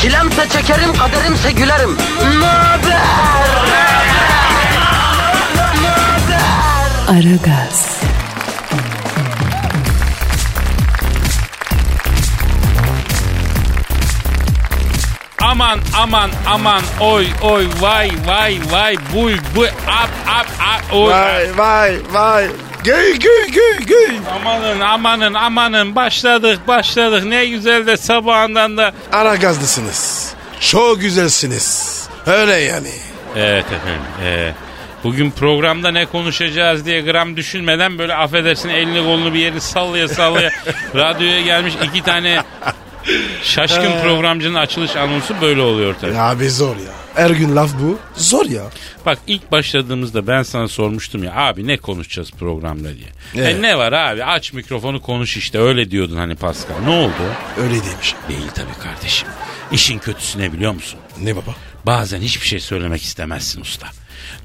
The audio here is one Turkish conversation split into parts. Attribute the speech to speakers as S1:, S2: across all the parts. S1: Çilemse çekerim, kaderimse gülerim. Möber!
S2: Aragaz,
S3: Aman aman aman oy oy vay vay vay buy bu ap ap ap oy.
S4: Vay vay vay. Gül gül gül gül.
S3: Amanın amanın amanın başladık başladık ne güzel de sabahından da.
S4: Ara gazlısınız. Çok güzelsiniz. Öyle yani.
S3: Evet efendim. ee, bugün programda ne konuşacağız diye gram düşünmeden böyle affedersin elini kolunu bir yerini sallaya sallaya radyoya gelmiş iki tane şaşkın programcının açılış anonsu böyle oluyor tabii.
S4: Abi zor ya. Her gün laf bu. Zor ya.
S3: Bak ilk başladığımızda ben sana sormuştum ya abi ne konuşacağız programda diye.
S4: Evet.
S3: E ne var abi aç mikrofonu konuş işte öyle diyordun hani Pascal. Ne oldu?
S4: Öyle demiş.
S3: Değil tabii kardeşim. İşin kötüsü ne biliyor musun?
S4: Ne baba?
S3: Bazen hiçbir şey söylemek istemezsin usta.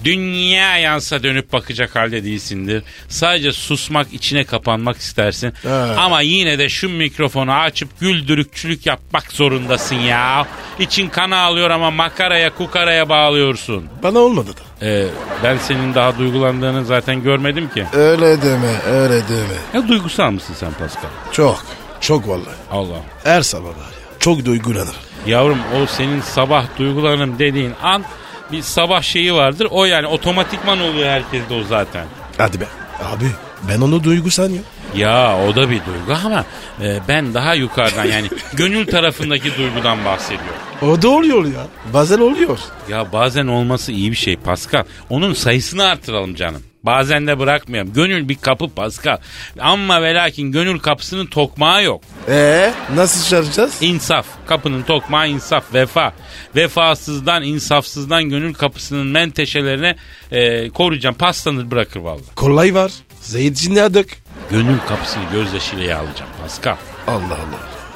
S3: Dünya yansa dönüp bakacak halde değilsindir. Sadece susmak, içine kapanmak istersin.
S4: Evet.
S3: Ama yine de şu mikrofonu açıp güldürükçülük yapmak zorundasın ya. İçin kan ağlıyor ama makaraya, kukaraya bağlıyorsun.
S4: Bana olmadı da.
S3: Ee, ben senin daha duygulandığını zaten görmedim ki.
S4: Öyle deme öyle deme.
S3: Ya duygusal mısın sen Pascal?
S4: Çok. Çok vallahi.
S3: Allah.
S4: Her sabah var ya. Çok duygulanır.
S3: Yavrum o senin sabah duygulanım dediğin an bir sabah şeyi vardır. O yani otomatikman oluyor herkeste o zaten.
S4: Hadi be. Abi ben onu duygu sanıyorum.
S3: Ya o da bir duygu ama e, ben daha yukarıdan yani gönül tarafındaki duygudan bahsediyorum.
S4: O da oluyor ya. Bazen oluyor.
S3: Ya bazen olması iyi bir şey Pascal. Onun sayısını artıralım canım. Bazen de bırakmayalım. Gönül bir kapı Pascal. Ama ve lakin gönül kapısının tokmağı yok.
S4: Ee nasıl çağıracağız?
S3: İnsaf. Kapının tokmağı insaf, vefa. Vefasızdan, insafsızdan gönül kapısının menteşelerine e, koruyacağım. Paslanır bırakır valla.
S4: Kolay var. Zeytinli adık.
S3: Gönül kapısını gözyaşıyla yağlayacağım Pascal.
S4: Allah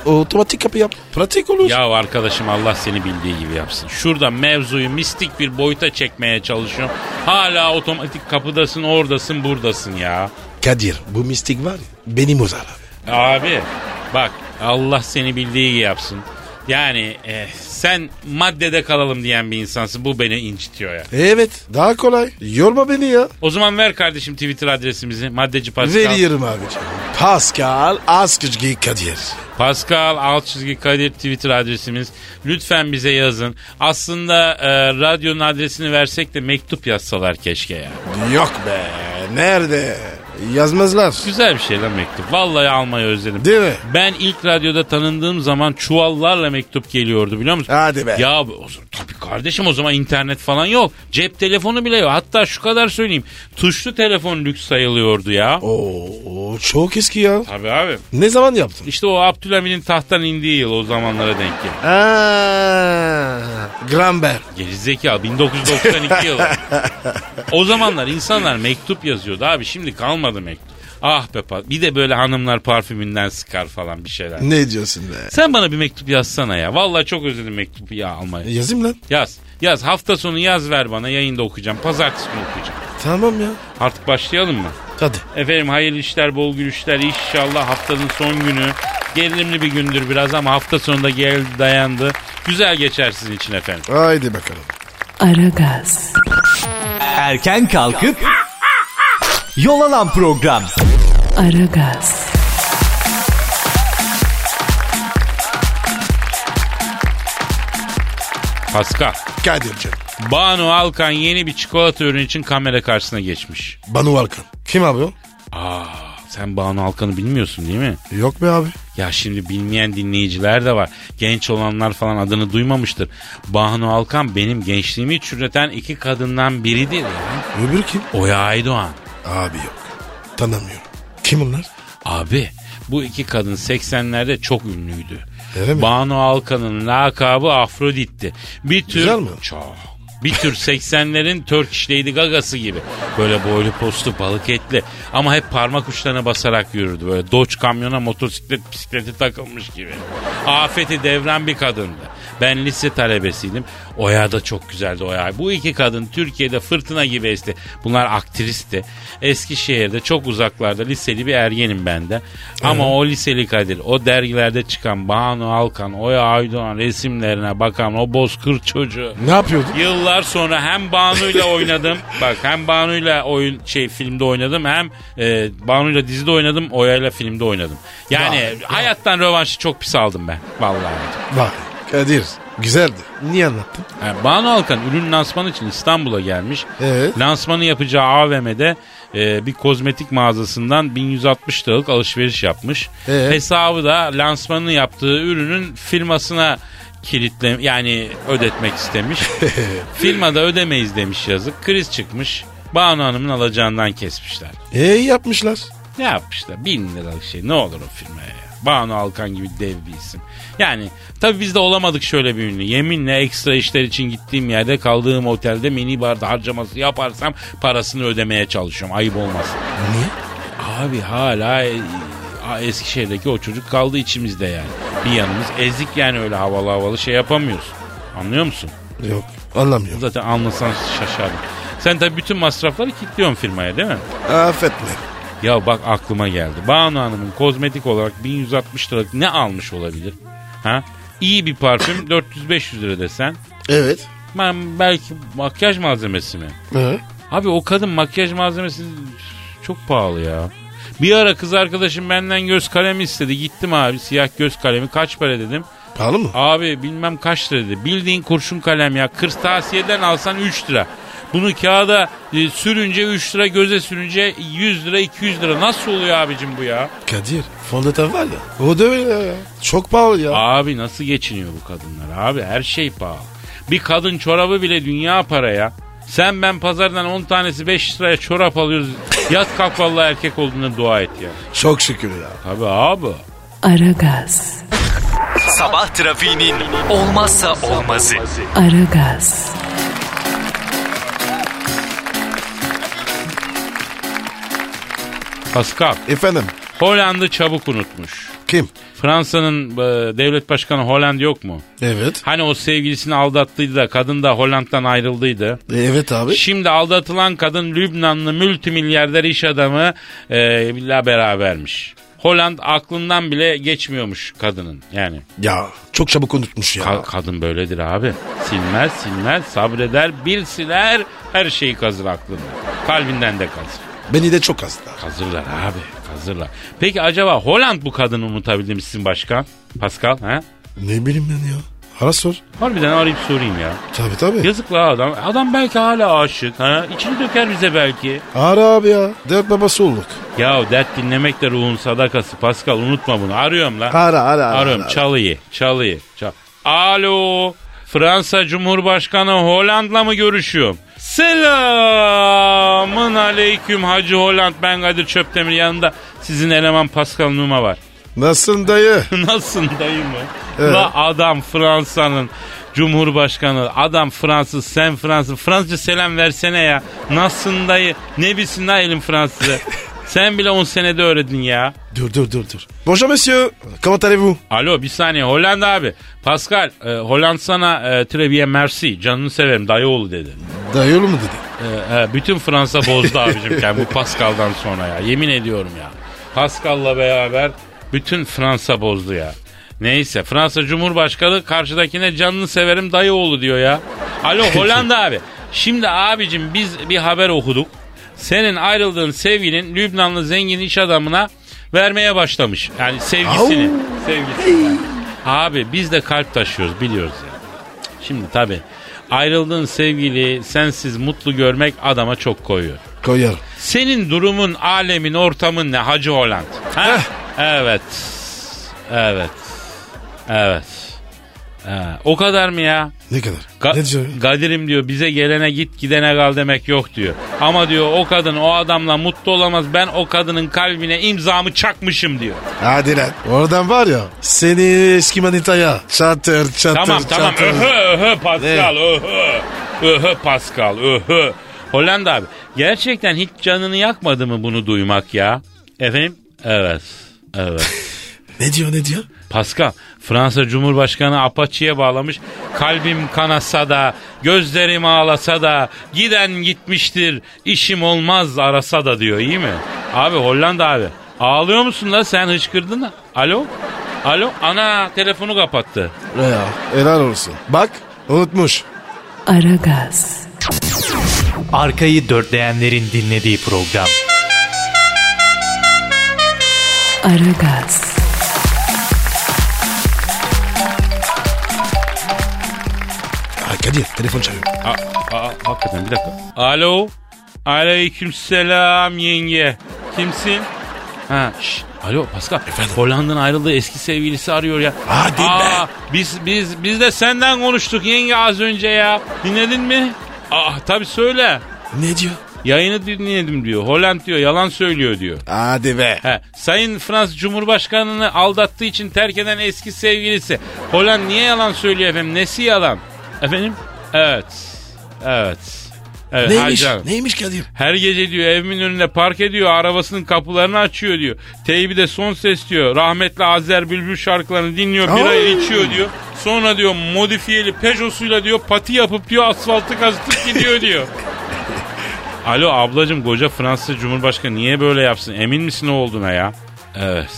S4: Allah. Otomatik kapı yap. Pratik olur.
S3: Ya arkadaşım Allah seni bildiği gibi yapsın. Şurada mevzuyu mistik bir boyuta çekmeye çalışıyorum. Hala otomatik kapıdasın, oradasın, buradasın ya.
S4: Kadir bu mistik var ya beni bozar abi.
S3: Abi bak Allah seni bildiği gibi yapsın. Yani eh, sen maddede kalalım diyen bir insansın. Bu beni incitiyor ya.
S4: Evet daha kolay. Yorma beni ya.
S3: O zaman ver kardeşim Twitter adresimizi. Maddeci Pascal.
S4: Veriyorum abicim. Pascal Askışgi Kadir.
S3: Pascal alt çizgi Kadir Twitter adresimiz. Lütfen bize yazın. Aslında eh, radyonun adresini versek de mektup yazsalar keşke ya.
S4: Yok be nerede? Yazmazlar.
S3: Güzel bir şey lan mektup. Vallahi almayı özledim.
S4: Değil mi?
S3: Ben ilk radyoda tanındığım zaman çuvallarla mektup geliyordu biliyor musun?
S4: Hadi Ah be.
S3: Ya o zaman- tabii kardeşim o zaman internet falan yok. Cep telefonu bile yok. Hatta şu kadar söyleyeyim. Tuşlu telefon lüks sayılıyordu ya.
S4: Oo çok eski ya.
S3: Tabii abi.
S4: Ne zaman yaptın?
S3: İşte o Abdülhamid'in tahttan indiği yıl o zamanlara denk geldi.
S4: Aa, Gramber.
S3: Gerizekalı 1992 yılı. o zamanlar insanlar mektup yazıyordu abi. Şimdi kalmadı mektup. Ah be pa- bir de böyle hanımlar parfümünden sıkar falan bir şeyler.
S4: Ne diyorsun be?
S3: Sen bana bir mektup yazsana ya. Vallahi çok özledim mektup ya almayı.
S4: Yazayım lan.
S3: Yaz. Yaz. Hafta sonu yaz ver bana. Yayında okuyacağım. Pazartesi günü okuyacağım.
S4: Tamam ya.
S3: Artık başlayalım mı?
S4: Hadi.
S3: Efendim hayırlı işler, bol gülüşler. İnşallah haftanın son günü. Gerilimli bir gündür biraz ama hafta sonunda geldi dayandı. Güzel geçer sizin için efendim.
S4: Haydi bakalım.
S2: Aragaz,
S5: Erken kalkıp yol alan program.
S2: Aragaz,
S3: Pascal.
S4: Kadir'cim.
S3: Banu Alkan yeni bir çikolata ürünü için kamera karşısına geçmiş.
S4: Banu Alkan. Kim abi o?
S3: Aa, sen Banu Alkan'ı bilmiyorsun değil mi?
S4: Yok be abi.
S3: Ya şimdi bilmeyen dinleyiciler de var. Genç olanlar falan adını duymamıştır. Banu Alkan benim gençliğimi çürüten iki kadından biridir ya.
S4: Öbürü kim?
S3: Oya Aydoğan.
S4: Abi yok. Tanımıyorum. Kim onlar?
S3: Abi bu iki kadın 80'lerde çok ünlüydü.
S4: Öyle mi?
S3: Banu Alkan'ın lakabı Afrodit'ti. Bir tür...
S4: Güzel mi?
S3: Çok. Bir tür 80'lerin Turkish Lady Gaga'sı gibi. Böyle boylu postlu balık etli. Ama hep parmak uçlarına basarak yürürdü. Böyle Dodge kamyona motosiklet bisikleti takılmış gibi. Afeti devren bir kadındı. Ben lise talebesiydim. Oya da çok güzeldi Oya. Bu iki kadın Türkiye'de fırtına gibi esti. Bunlar aktristi. Eskişehir'de çok uzaklarda liseli bir ergenim ben de. Ama o liseli Kadir, o dergilerde çıkan Banu Alkan, Oya Aydoğan resimlerine bakan o bozkır çocuğu.
S4: Ne yapıyordun?
S3: Yıllar sonra hem Banu'yla oynadım. Bak hem Banu'yla oyun şey filmde oynadım hem e, Banu'yla dizide oynadım, Oya'yla filmde oynadım. Yani hayattan rövanşı çok pis aldım ben vallahi.
S4: Bak Kadir güzeldi. Niye anlattın?
S3: Yani Banu Alkan ürün lansmanı için İstanbul'a gelmiş.
S4: Evet.
S3: Lansmanı yapacağı AVM'de e, bir kozmetik mağazasından 1160 liralık alışveriş yapmış.
S4: Ee?
S3: Hesabı da lansmanını yaptığı ürünün firmasına kilitle yani ödetmek istemiş. Firmada ödemeyiz demiş yazık. Kriz çıkmış. Banu Hanım'ın alacağından kesmişler.
S4: E yapmışlar.
S3: Ne yapmışlar? Bin liralık şey ne olur o firmaya ya. Banu Alkan gibi dev bir isim. Yani tabii biz de olamadık şöyle bir ünlü. Yeminle ekstra işler için gittiğim yerde kaldığım otelde mini barda harcaması yaparsam parasını ödemeye çalışıyorum. Ayıp olmasın.
S4: Niye?
S3: Abi hala e, a- Eskişehir'deki o çocuk kaldı içimizde yani. Bir yanımız ezik yani öyle havalı havalı şey yapamıyoruz. Anlıyor musun?
S4: Yok anlamıyorum.
S3: Zaten anlasan şaşardım. Sen tabii bütün masrafları kilitliyorsun firmaya değil mi?
S4: Affetme.
S3: Ya bak aklıma geldi. Banu Hanım'ın kozmetik olarak 1160 liralık ne almış olabilir? Ha? İyi bir parfüm 400-500 lira desen.
S4: Evet.
S3: Ben belki makyaj malzemesi mi?
S4: Hı?
S3: Abi o kadın makyaj malzemesi çok pahalı ya. Bir ara kız arkadaşım benden göz kalemi istedi. Gittim abi siyah göz kalemi kaç para dedim.
S4: Pahalı mı?
S3: Abi bilmem kaç lira dedi. Bildiğin kurşun kalem ya. Kırtasiyeden alsan 3 lira. Bunu kağıda e, sürünce 3 lira göze sürünce 100 lira 200 lira. Nasıl oluyor abicim bu ya?
S4: Kadir fondöten var ya. O da öyle ya. Çok pahalı ya.
S3: Abi nasıl geçiniyor bu kadınlar? Abi her şey pahalı. Bir kadın çorabı bile dünya paraya. Sen ben pazardan 10 tanesi 5 liraya çorap alıyoruz. Yat kalk vallahi erkek olduğuna dua et ya.
S4: Çok şükür ya.
S3: Tabii abi.
S2: Aragaz,
S5: Sabah trafiğinin olmazsa olmazı.
S2: Aragaz,
S3: Pascal.
S4: Efendim
S3: Hollanda çabuk unutmuş.
S4: kim?
S3: Fransa'nın e, devlet başkanı Hollande yok mu?
S4: Evet.
S3: Hani o sevgilisini aldattıydı da kadın da Hollanda'dan ayrıldıydı.
S4: E, Evet abi.
S3: Şimdi aldatılan kadın Lübnanlı multimilярder iş adamı e, billa berabermiş. Holland aklından bile geçmiyormuş kadının yani.
S4: Ya çok çabuk unutmuş ya.
S3: Ka- kadın böyledir abi. Silmez silmez sabreder bir siler her şeyi kazır aklında. Kalbinden de kazır.
S4: Beni de çok hasta.
S3: Kazırlar abi kazırlar. Peki acaba Holland bu kadını unutabildi mi sizin başkan? Pascal ha?
S4: Ne bileyim ben ya. Ara sor.
S3: Harbiden arayıp sorayım ya.
S4: Tabii tabii.
S3: Yazık la adam. Adam belki hala aşık. Ha? İçini döker bize belki.
S4: Ara abi ya. Dört babası olduk.
S3: Ya dert dinlemek de ruhun sadakası. Pascal unutma bunu. Arıyorum la.
S4: Ara ara ara.
S3: Arıyorum.
S4: ara.
S3: Çalıyı. Çalıyı. Çal. Alo. Fransa Cumhurbaşkanı Holland'la mı görüşüyorum? Selamın aleyküm Hacı Holland. Ben Kadir Çöptemir yanında sizin eleman Pascal Numa var.
S4: Nasılsın dayı?
S3: Nasılsın dayı mı?
S4: Evet.
S3: La adam Fransa'nın Cumhurbaşkanı. Adam Fransız, sen Fransız. Fransızca selam versene ya. Nasılsın dayı? Ne bilsin la elin Fransızı? sen bile 10 senede öğrendin ya.
S4: Dur dur dur dur. Bonjour monsieur. Comment allez-vous?
S3: Alo bir saniye Hollanda abi. Pascal e, Holland sana e, Treviye Merci canını severim dayı oğlu dedi.
S4: Dayı oğlu mu dedi?
S3: E, e, bütün Fransa bozdu abicim kendini bu Pascal'dan sonra ya. Yemin ediyorum ya. Pascal'la beraber bütün Fransa bozdu ya. Neyse Fransa Cumhurbaşkanı karşıdakine canını severim dayı oğlu diyor ya. Alo Hollanda abi. Şimdi abicim biz bir haber okuduk. Senin ayrıldığın sevgilin Lübnanlı zengin iş adamına vermeye başlamış. Yani sevgisini. Sevgisini. Abi biz de kalp taşıyoruz biliyoruz ya. Şimdi tabii ayrıldığın sevgili sensiz mutlu görmek adama çok koyuyor.
S4: Koyarım.
S3: Senin durumun, alemin, ortamın ne Hacı Holland? Ha?
S4: Eh,
S3: Evet. Evet. Evet. Ha, o kadar mı ya?
S4: Ne kadar?
S3: Ga-
S4: ne diyor?
S3: Kadir'im diyor bize gelene git gidene kal demek yok diyor. Ama diyor o kadın o adamla mutlu olamaz ben o kadının kalbine imzamı çakmışım diyor.
S4: Hadi lan. Oradan var ya. Seni eski manitaya. Çatır çatır
S3: Tamam tamam
S4: çatır.
S3: öhö öhö Pascal öhö. Öhö Pascal öhö. Hollanda abi gerçekten hiç canını yakmadı mı bunu duymak ya? Efendim? Evet. Evet.
S4: Ne diyor ne diyor?
S3: Pascal Fransa Cumhurbaşkanı Apache'ye bağlamış. Kalbim kanasa da gözlerim ağlasa da giden gitmiştir işim olmaz arasa da diyor iyi mi? Abi Hollanda abi ağlıyor musun la sen hıçkırdın da. Alo? Alo? Ana telefonu kapattı.
S4: Ya, helal olsun. Bak unutmuş.
S2: Aragaz,
S5: Arkayı dörtleyenlerin dinlediği program.
S2: Aragaz,
S4: Ha, Kadir telefon çalıyor.
S3: Aa, aa, hakikaten bir dakika. Alo. Aleykümselam yenge. Kimsin? Ha, şş, Alo Pascal. Hollanda'nın ayrıldığı eski sevgilisi arıyor ya.
S4: Hadi be.
S3: Aa, Biz, biz, biz de senden konuştuk yenge az önce ya. Dinledin mi? Ah tabii söyle.
S4: Ne diyor?
S3: Yayını dinledim diyor. Holland diyor yalan söylüyor diyor.
S4: Hadi be.
S3: He, Sayın Frans Cumhurbaşkanı'nı aldattığı için terk eden eski sevgilisi. Hollanda niye yalan söylüyor efendim? Nesi yalan? Efendim? Evet. Evet. Evet, hay
S4: Neymiş?
S3: canım.
S4: Neymiş Kadir?
S3: Her gece diyor evimin önüne park ediyor arabasının kapılarını açıyor diyor. Teybi de son ses diyor. Rahmetli Azer Bülbül şarkılarını dinliyor birayı içiyor diyor. Sonra diyor modifiyeli Peugeot'suyla diyor pati yapıp diyor asfaltı kazıtıp gidiyor diyor. Alo ablacım koca Fransız Cumhurbaşkanı niye böyle yapsın? Emin misin ne olduğuna ya? Evet.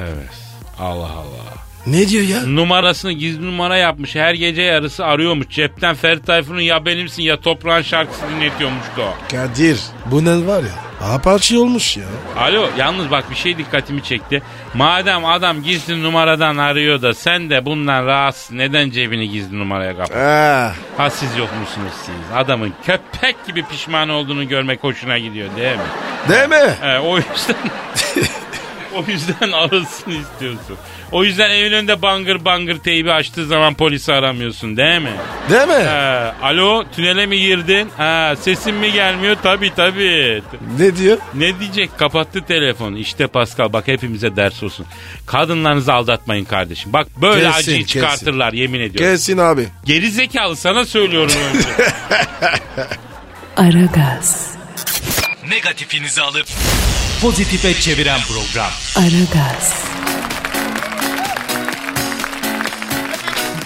S3: Evet. Allah Allah.
S4: Ne diyor ya?
S3: Numarasını gizli numara yapmış. Her gece yarısı arıyormuş. Cepten Ferit Tayfun'un ya benimsin ya toprağın şarkısı dinletiyormuştu o.
S4: Kadir bu ne var ya? Apaçi olmuş ya.
S3: Alo yalnız bak bir şey dikkatimi çekti. Madem adam gizli numaradan arıyor da sen de bundan rahatsız neden cebini gizli numaraya kapat?
S4: Ha,
S3: Ha siz yok musunuz siz? Adamın köpek gibi pişman olduğunu görmek hoşuna gidiyor değil mi?
S4: değil mi?
S3: He, o yüzden o yüzden arasını istiyorsun. O yüzden evin önünde bangır bangır teybi açtığı zaman polisi aramıyorsun değil mi?
S4: Değil mi?
S3: He, alo tünele mi girdin? Ha, sesin mi gelmiyor? Tabii tabii.
S4: Ne diyor?
S3: Ne diyecek? Kapattı telefonu. İşte Pascal bak hepimize ders olsun. Kadınlarınızı aldatmayın kardeşim. Bak böyle
S4: Kesin,
S3: acıyı
S4: kesin.
S3: çıkartırlar yemin ediyorum.
S4: Kesin abi.
S3: Geri zekalı sana söylüyorum önce.
S2: Aragaz,
S5: Negatifinizi alıp pozitife çeviren program.
S2: Aragaz,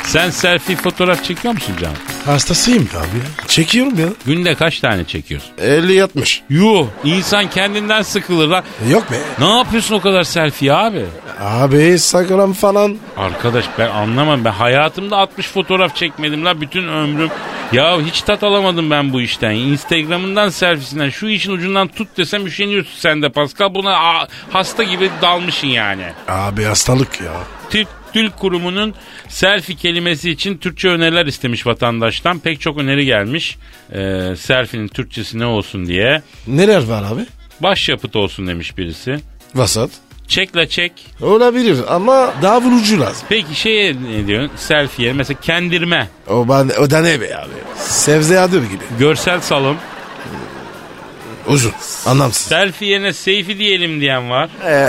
S3: Sen selfie fotoğraf çekiyor musun canım?
S4: Hastasıyım abi ya. Çekiyorum ya.
S3: Günde kaç tane çekiyorsun?
S4: 50 yatmış.
S3: Yuh insan kendinden sıkılır lan.
S4: Yok be.
S3: Ne yapıyorsun o kadar selfie abi?
S4: Abi sakalam falan.
S3: Arkadaş ben anlamam. Ben hayatımda 60 fotoğraf çekmedim la bütün ömrüm. Ya hiç tat alamadım ben bu işten. Instagram'ından selfisinden şu işin ucundan tut desem üşeniyorsun sen de Pascal. Buna a- hasta gibi dalmışsın yani.
S4: Abi hastalık ya.
S3: Türk Dil Kurumu'nun selfie kelimesi için Türkçe öneriler istemiş vatandaştan. Pek çok öneri gelmiş. Ee, selfie'nin Türkçesi ne olsun diye.
S4: Neler var abi?
S3: Başyapıt olsun demiş birisi.
S4: Vasat.
S3: Çekle çek.
S4: Olabilir ama daha vurucu lazım.
S3: Peki şey ne diyorsun? Selfie'ye mesela kendirme.
S4: O, ben, o da ne be abi? Sebze adı gibi.
S3: Görsel salım.
S4: Uzun. Anlamsız.
S3: Selfie yerine seyfi diyelim diyen var.
S4: Eh,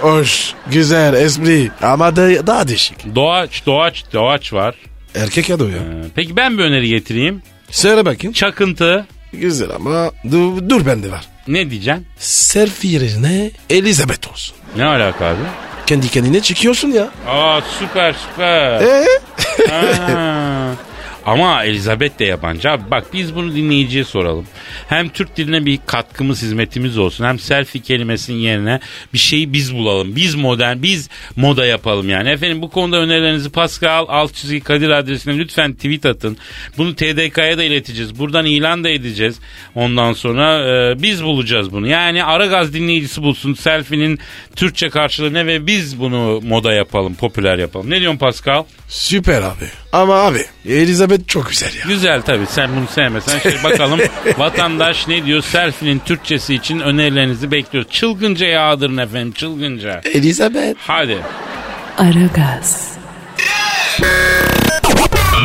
S4: Hoş, güzel, espri ama da, daha değişik.
S3: Doğaç, doğaç, doğaç var.
S4: Erkek adı o ya.
S3: Ee, Peki ben bir öneri getireyim.
S4: Söyle bakayım.
S3: Çakıntı.
S4: Güzel ama dur, dur bende var.
S3: Ne diyeceksin?
S4: Selfie yerine Elizabeth olsun.
S3: Ne alaka abi?
S4: Kendi kendine çıkıyorsun ya.
S3: Aa süper süper.
S4: Ee?
S3: Ha. Ama Elizabeth de yabancı abi. Bak biz bunu dinleyiciye soralım. Hem Türk diline bir katkımız, hizmetimiz olsun. Hem selfie kelimesinin yerine bir şeyi biz bulalım. Biz modern, biz moda yapalım yani. Efendim bu konuda önerilerinizi Pascal alt çizgi Kadir adresine lütfen tweet atın. Bunu TDK'ya da ileteceğiz. Buradan ilan da edeceğiz. Ondan sonra e, biz bulacağız bunu. Yani Aragaz dinleyicisi bulsun selfie'nin Türkçe karşılığı ne ve biz bunu moda yapalım, popüler yapalım. Ne diyorsun Pascal?
S4: Süper abi. Ama abi Elizabeth çok güzel ya.
S3: Güzel tabii sen bunu sevmesen şey bakalım vatandaş ne diyor selfie'nin Türkçesi için önerilerinizi bekliyoruz. Çılgınca yağdırın efendim çılgınca.
S4: Elizabeth.
S3: Hadi.
S2: Aragaz,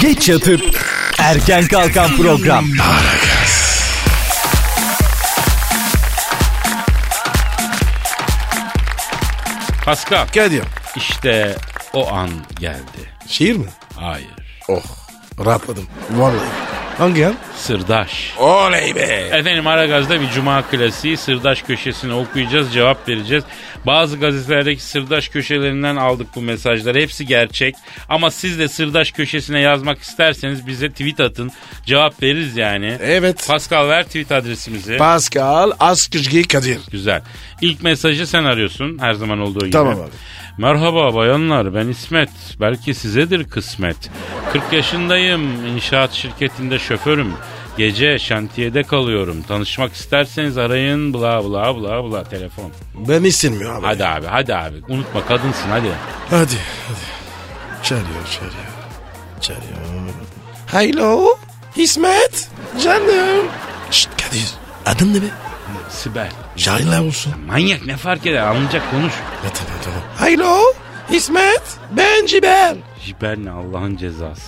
S5: Geç yatıp erken kalkan program.
S3: Pascal
S4: Kadir.
S3: işte o an geldi.
S4: Şiir mi?
S3: Hayır.
S4: Oh rahatladım. Vallahi. Hangi yan?
S3: Sırdaş.
S4: Oley be.
S3: Efendim Aragaz'da bir cuma klasiği sırdaş köşesini okuyacağız, cevap vereceğiz. Bazı gazetelerdeki sırdaş köşelerinden aldık bu mesajları. Hepsi gerçek. Ama siz de sırdaş köşesine yazmak isterseniz bize tweet atın. Cevap veririz yani.
S4: Evet.
S3: Pascal ver tweet adresimizi.
S4: Pascal Askışgi Kadir.
S3: Güzel. İlk mesajı sen arıyorsun her zaman olduğu gibi.
S4: Tamam abi.
S3: Merhaba bayanlar ben İsmet. Belki sizedir kısmet. 40 yaşındayım. İnşaat şirketinde şoförüm. Gece şantiyede kalıyorum. Tanışmak isterseniz arayın bla bla bla bla telefon.
S4: Ben istemiyorum abi.
S3: Hadi abi hadi abi. Unutma kadınsın hadi.
S4: Hadi. hadi. Çalıyor çalıyor. Çalıyor. Hello. İsmet. Canım. Şşt Kadir. Adın ne be?
S3: Sibel.
S4: Şahinler olsun.
S3: Manyak ne fark eder anlayacak konuş.
S4: Ya tamam tamam. Hello. İsmet. Ben Cibel.
S3: Jiber ne Allah'ın cezası.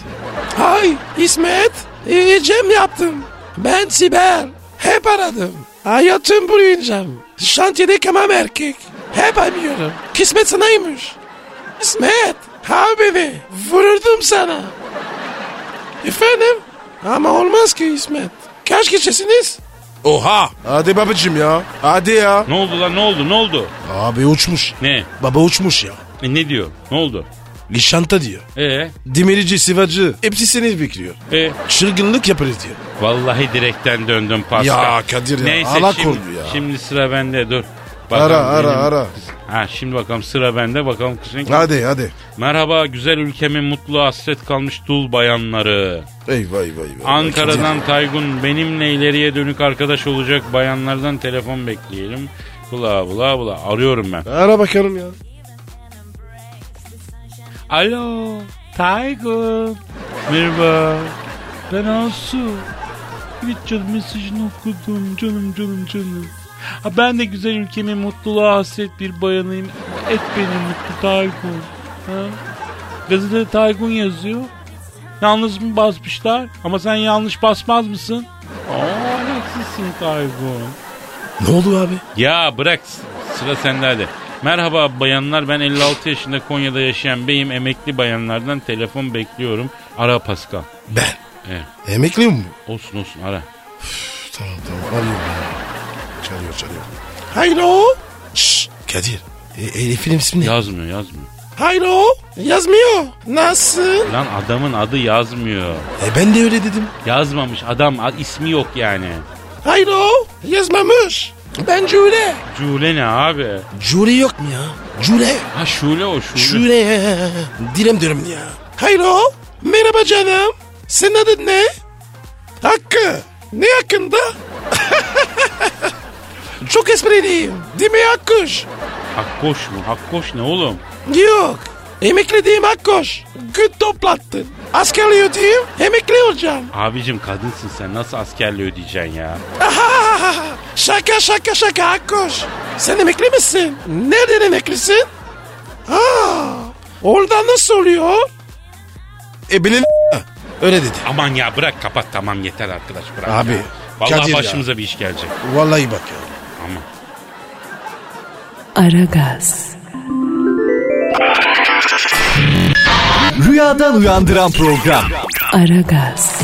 S4: Hay İsmet. Ee, Cem yaptım. Ben Sibel. Hep aradım. Hayatım boyunca. Şantiyede kemam erkek. Hep arıyorum. Kismet sanaymış. İsmet. Abi vururdum sana. Efendim? Ama olmaz ki İsmet. Kaç kişisiniz? Oha. Hadi babacım ya. Hadi ya.
S3: Ne oldu lan ne oldu ne oldu?
S4: Abi uçmuş.
S3: Ne?
S4: Baba uçmuş ya.
S3: E, ne diyor? Ne oldu?
S4: Nişanta diyor.
S3: E
S4: Demirici, sivacı. Hepsi seni bekliyor.
S3: e
S4: Çılgınlık yaparız diyor.
S3: Vallahi direkten döndüm Pascal.
S4: Ya Kadir ya,
S3: Neyse
S4: Allah
S3: şimdi,
S4: korudu ya.
S3: şimdi sıra bende dur.
S4: Ara, ara, ara.
S3: Ha şimdi bakalım sıra bende bakalım kızın.
S4: Hadi hadi.
S3: Merhaba güzel ülkemin mutlu hasret kalmış dul bayanları.
S4: Eyvah eyvah eyvah.
S3: Ankara'dan Taygun benimle ileriye dönük arkadaş olacak bayanlardan telefon bekleyelim. Bula bula bula arıyorum ben.
S4: Ara bakalım ya.
S3: Alo Taygun. Merhaba. Ben Asu. Richard mesajını okudum canım canım canım. Ha, ben de güzel ülkemin mutluluğa hasret bir bayanıyım. Et beni mutlu Taygun. Ha? Gazetede Taygun yazıyor. Yalnız mı basmışlar? Ama sen yanlış basmaz mısın? Aa, haksızsın Taygun.
S4: Ne oldu abi?
S3: Ya bırak sıra sende hadi. Merhaba bayanlar ben 56 yaşında Konya'da yaşayan beyim emekli bayanlardan telefon bekliyorum. Ara Pascal.
S4: Ben.
S3: Evet.
S4: Emekliyim mi?
S3: Olsun olsun ara.
S4: Tamam tamam arıyorum ya. Çalıyor çalıyor. Hayro. Şşş Kadir. E, Elif'in ismi ne?
S3: Yazmıyor yazmıyor.
S4: Hayro. Yazmıyor. Nasıl?
S3: Lan adamın adı yazmıyor.
S4: E ben de öyle dedim.
S3: Yazmamış adam a- ismi yok yani.
S4: Hayro. Yazmamış. Ben Cüle.
S3: Cule ne abi?
S4: Cüle yok mu ya? Cüle.
S3: Ha Şule o Şule.
S4: Şule. Dilim dilim ya. Hayro. Merhaba canım. Senin adın ne? Hakkı. Ne hakkında? Çok espriyim. Değil mi Hakkoş?
S3: Hakkoş mu? Hakkoş ne oğlum?
S4: Yok. Emekli diyeyim Hakkoş. Gün toplattın. Askerliği diyeyim emekli olacağım.
S3: Abicim kadınsın sen nasıl askerle ödeyeceksin ya?
S4: Şaka şaka şaka Hakkoş. Sen emekli misin? Nereden emeklisin? Aa, oradan nasıl oluyor? E bilin öyle dedi.
S3: Aman ya bırak kapat tamam yeter arkadaş bırak
S4: Abi,
S3: ya. Vallahi
S4: Kadir ya.
S3: başımıza bir iş gelecek.
S4: Vallahi bak ya.
S3: Aman.
S2: Aragaz,
S5: Rüyadan uyandıran program.
S2: Aragaz,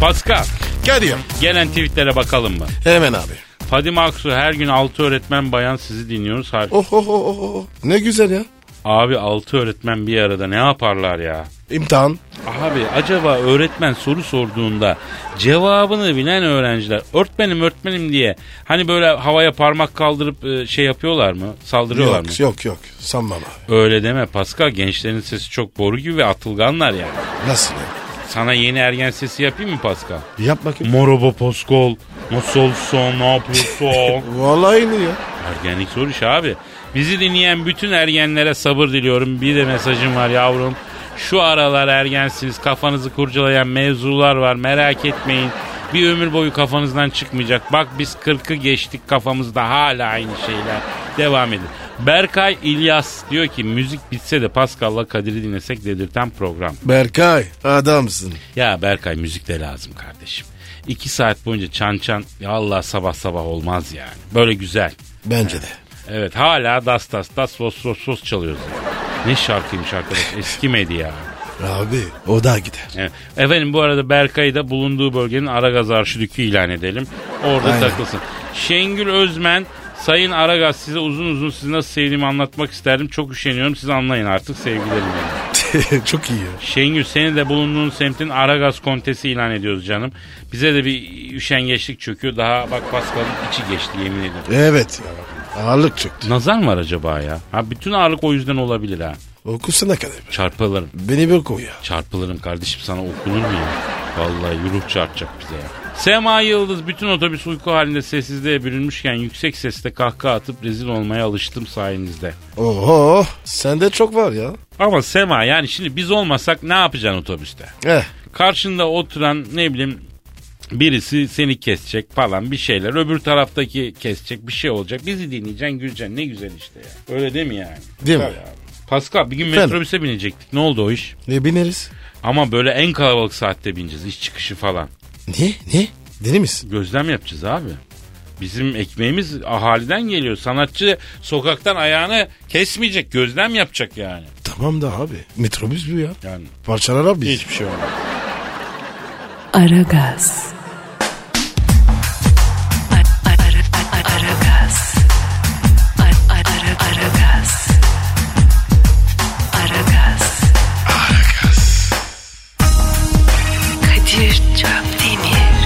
S3: Pascal
S4: Kadir.
S3: gelen tweetlere bakalım mı?
S4: Hemen abi.
S3: Fadime Aksu her gün 6 öğretmen bayan sizi dinliyoruz. Har-
S4: Oh oh oh oh, oh. Ne güzel ya.
S3: Abi 6 öğretmen bir arada ne yaparlar ya?
S4: İmtihan.
S3: Abi acaba öğretmen soru sorduğunda cevabını bilen öğrenciler öğretmenim öğretmenim diye hani böyle havaya parmak kaldırıp e, şey yapıyorlar mı? Saldırıyorlar mı?
S4: Yok yok yok. Sanmam abi.
S3: Öyle deme Pascal gençlerin sesi çok boru gibi ve atılganlar yani.
S4: Nasıl ya?
S3: Sana yeni ergen sesi yapayım mı Pascal?
S4: Yap bakayım.
S3: Merhaba Pascal. Nasılsın? Ne yapıyorsun?
S4: Vallahi aynı ya.
S3: Ergenlik zor iş abi. Bizi dinleyen bütün ergenlere sabır diliyorum. Bir de mesajım var yavrum. Şu aralar ergensiniz. Kafanızı kurcalayan mevzular var. Merak etmeyin. Bir ömür boyu kafanızdan çıkmayacak. Bak biz 40'ı geçtik kafamızda hala aynı şeyler. Devam edin. Berkay İlyas diyor ki müzik bitse de Pascal'la Kadir'i dinlesek dedirten program.
S4: Berkay adamsın.
S3: Ya Berkay müzik de lazım kardeşim. İki saat boyunca çan çan ya Allah sabah sabah olmaz yani. Böyle güzel.
S4: Bence de.
S3: Evet hala das das das sos sos sos çalıyoruz. Ne şarkıymış arkadaş eskimedi ya.
S4: Abi o da gider.
S3: Evet. Efendim bu arada Berkay'ı da bulunduğu bölgenin Aragaz Arşidükü ilan edelim. Orada
S4: Aynen.
S3: takılsın. Şengül Özmen, Sayın Aragaz size uzun uzun sizi nasıl sevdiğimi anlatmak isterdim. Çok üşeniyorum siz anlayın artık sevgilerim.
S4: Çok iyi. ya.
S3: Şengül seni de bulunduğun semtin Aragaz Kontesi ilan ediyoruz canım. Bize de bir üşengeçlik çöküyor. Daha bak Pascal'ın içi geçti yemin ederim.
S4: Evet ya. Ağırlık çıktı.
S3: Nazar mı var acaba ya? Ha bütün ağırlık o yüzden olabilir ha.
S4: Okusana kadar.
S3: Çarpılırım.
S4: Beni bir koy ya.
S3: Çarpılırım kardeşim sana okunur mu ya? Vallahi yürük çarpacak bize ya. Sema Yıldız bütün otobüs uyku halinde sessizliğe bürünmüşken yüksek sesle kahkaha atıp rezil olmaya alıştım sayenizde.
S4: Oho. Sende çok var ya.
S3: Ama Sema yani şimdi biz olmasak ne yapacaksın otobüste?
S4: Eh.
S3: Karşında oturan ne bileyim birisi seni kesecek falan bir şeyler. Öbür taraftaki kesecek bir şey olacak. Bizi dinleyeceksin güleceksin ne güzel işte ya. Öyle değil mi yani?
S4: Değil mi?
S3: Tabii abi. Pascal bir gün
S4: Efendim?
S3: metrobüse binecektik. Ne oldu o iş?
S4: Ne bineriz?
S3: Ama böyle en kalabalık saatte bineceğiz. iş çıkışı falan.
S4: Ne? Ne? Deli misin?
S3: Gözlem yapacağız abi. Bizim ekmeğimiz ahaliden geliyor. Sanatçı sokaktan ayağını kesmeyecek. Gözlem yapacak yani.
S4: Tamam da abi. Metrobüs bu ya.
S3: Yani
S4: Parçalar abi.
S3: hiçbir şey olmaz.
S2: Aragaz. Ara- ara- ara- Aragaz. Ara- ara- Aragaz. Aragaz. Kadir Çöpdemir.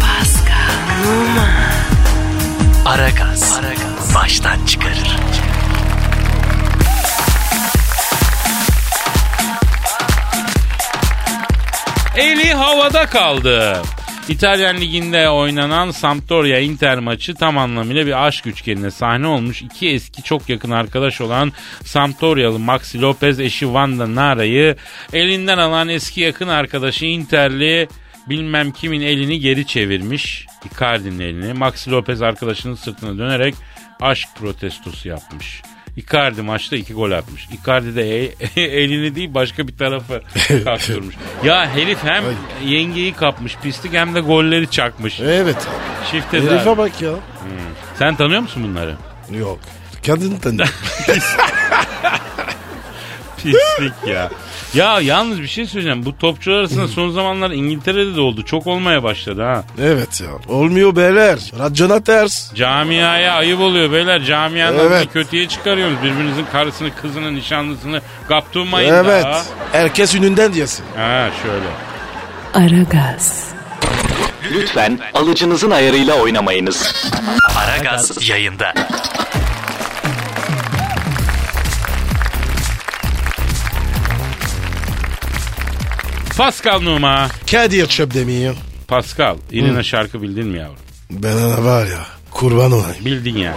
S2: Pascal Numa.
S5: Aragaz. Baştan çıkarır.
S3: Eli havada kaldı. İtalyan liginde oynanan Sampdoria Inter maçı tam anlamıyla bir aşk üçgenine sahne olmuş. İki eski çok yakın arkadaş olan Sampdorialı Maxi Lopez eşi Wanda Nara'yı elinden alan eski yakın arkadaşı Interli bilmem kimin elini geri çevirmiş. Icardi'nin elini. Maxi Lopez arkadaşının sırtına dönerek aşk protestosu yapmış. Icardi maçta iki gol atmış. Icardi de e- elini değil başka bir tarafı kaptırmış. Ya herif hem yengeyi kapmış pislik hem de golleri çakmış.
S4: Evet abi.
S3: Şifte
S4: Herife bak ya.
S3: Sen tanıyor musun bunları?
S4: Yok. Kadın tanıdım.
S3: Pislik ya. Ya yalnız bir şey söyleyeceğim. Bu topçular arasında son zamanlar İngiltere'de de oldu. Çok olmaya başladı ha.
S4: evet ya. Olmuyor beyler. Radyona ters.
S3: Camiaya ayıp oluyor beyler. Camianın
S4: Evet.
S3: adını kötüye çıkarıyorsunuz. Birbirinizin karısını, kızını, nişanlısını kaptırmayın
S4: evet.
S3: daha.
S4: Herkes önünden diyesin.
S3: Ha şöyle.
S2: Aragaz.
S5: Lütfen alıcınızın ayarıyla oynamayınız. Aragaz yayında.
S3: Pascal Numa.
S4: Kadir Çöpdemir.
S3: Pascal, İrina şarkı bildin mi yavrum?
S4: Ben ona var ya. Kurban olayım.
S3: Bildin yani.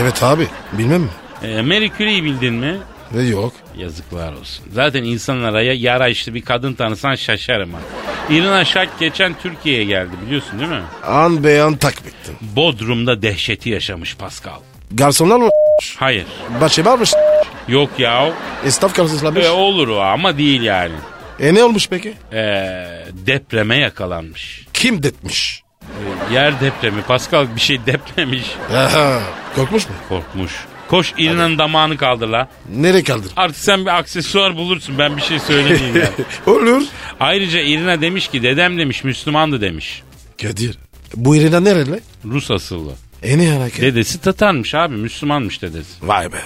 S4: Evet abi. Bilmem mi?
S3: Ee, Marie Curie'yi bildin mi?
S4: Ne yok.
S3: Yazıklar olsun. Zaten insanlara ya, yara işte bir kadın tanısan şaşarım ha. İrina Şak geçen Türkiye'ye geldi biliyorsun değil mi?
S4: An beyan takmettim.
S3: Bodrum'da dehşeti yaşamış Pascal.
S4: Garsonlar mı?
S3: Hayır.
S4: Bahçe var mı?
S3: Yok ya.
S4: Esnaf garsonlar
S3: E, olur o ama değil yani.
S4: E ne olmuş peki?
S3: Ee, depreme yakalanmış.
S4: Kim detmiş?
S3: Ee, yer depremi. Pascal bir şey depremiş.
S4: Aha, korkmuş mu?
S3: Korkmuş. Koş İrina'nın damağını kaldır la.
S4: Nereye kaldır?
S3: Artık sen bir aksesuar bulursun. Ben bir şey söylemeyeyim yani.
S4: Olur.
S3: Ayrıca İrina demiş ki dedem demiş Müslümandı demiş.
S4: Kadir. Bu irina nereli?
S3: Rus asıllı.
S4: E ne hareket?
S3: Dedesi Tatarmış abi Müslümanmış dedesi.
S4: Vay be.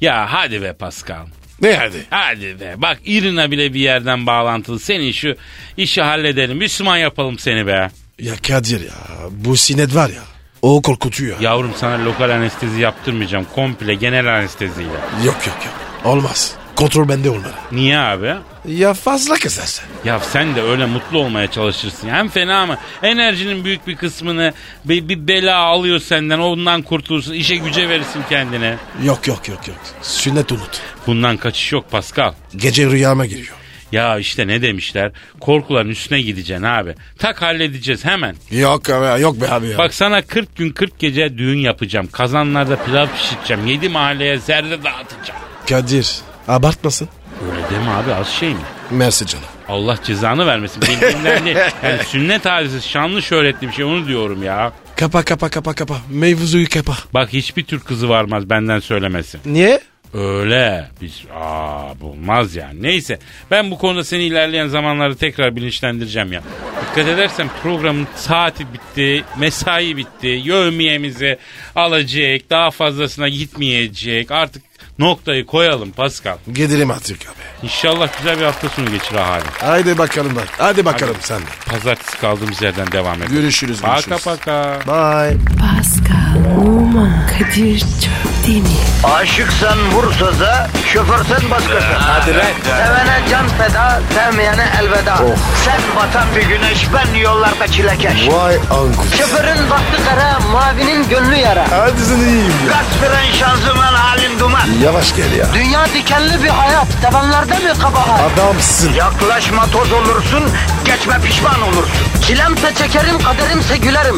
S3: Ya hadi be Pascal.
S4: Ne hadi?
S3: Hadi be. Bak İrina bile bir yerden bağlantılı. Senin şu işi halledelim. Müslüman yapalım seni be.
S4: Ya Kadir ya bu sinet var ya. O korkutuyor.
S3: Yavrum sana lokal anestezi yaptırmayacağım. Komple genel anesteziyle.
S4: Yok yok yok. Olmaz. Kontrol bende olmalı.
S3: Niye abi?
S4: Ya fazla kızarsın.
S3: Ya sen de öyle mutlu olmaya çalışırsın. Hem fena mı? Enerjinin büyük bir kısmını bir, bir bela alıyor senden. Ondan kurtulursun. İşe güce verirsin kendine.
S4: Yok yok yok yok. Sünnet unut.
S3: Bundan kaçış yok Pascal.
S4: Gece rüyama giriyor.
S3: Ya işte ne demişler? Korkuların üstüne gideceksin abi. Tak halledeceğiz hemen.
S4: Yok abi yok be abi ya.
S3: Bak sana 40 gün 40 gece düğün yapacağım. Kazanlarda pilav pişireceğim. 7 mahalleye zerre dağıtacağım.
S4: Kadir abartmasın.
S3: Öyle deme abi az şey mi?
S4: Mersi canım.
S3: Allah cezanı vermesin. Bildiğimden değil. Yani sünnet hadisesi şanlı şöhretli bir şey onu diyorum ya.
S4: Kapa kapa kapa kapa. Mevzuyu kapa.
S3: Bak hiçbir Türk kızı varmaz benden söylemesi.
S4: Niye?
S3: Öyle. Biz aa bulmaz yani. Neyse ben bu konuda seni ilerleyen zamanlarda tekrar bilinçlendireceğim ya. Dikkat edersen programın saati bitti, mesai bitti, yövmiyemizi alacak, daha fazlasına gitmeyecek. Artık noktayı koyalım Pascal.
S4: Gidelim artık abi.
S3: İnşallah güzel bir hafta sonu geçir ahali.
S4: Haydi bakalım bak. Hadi bakalım sen de.
S3: Pazartesi kaldığımız yerden devam edelim.
S4: Görüşürüz.
S3: Paka
S4: görüşürüz.
S3: paka.
S4: Bye.
S2: Pascal, Oman, Kadir çok değil mi?
S1: Aşıksan vursa da, şoförsen başkasın. Hadi
S5: lan.
S1: Sevene can feda, sevmeyene elveda. Sen batan bir güneş, ben yollarda çilekeş.
S4: Vay anku.
S1: Şoförün baktı kara, mavinin gönlü yara.
S4: Hadi sen iyiyim ya.
S1: Kasperen şanzıman halin duman.
S4: Yavaş gel ya.
S1: Dünya dikenli bir hayat, sevenlerde mi kabahar?
S4: Adamsın.
S1: Yaklaşma toz olursun, geçme pişman olursun. Çilemse çekerim, kaderimse gülerim.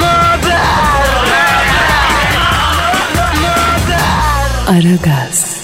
S1: Möber!
S2: Aragaz.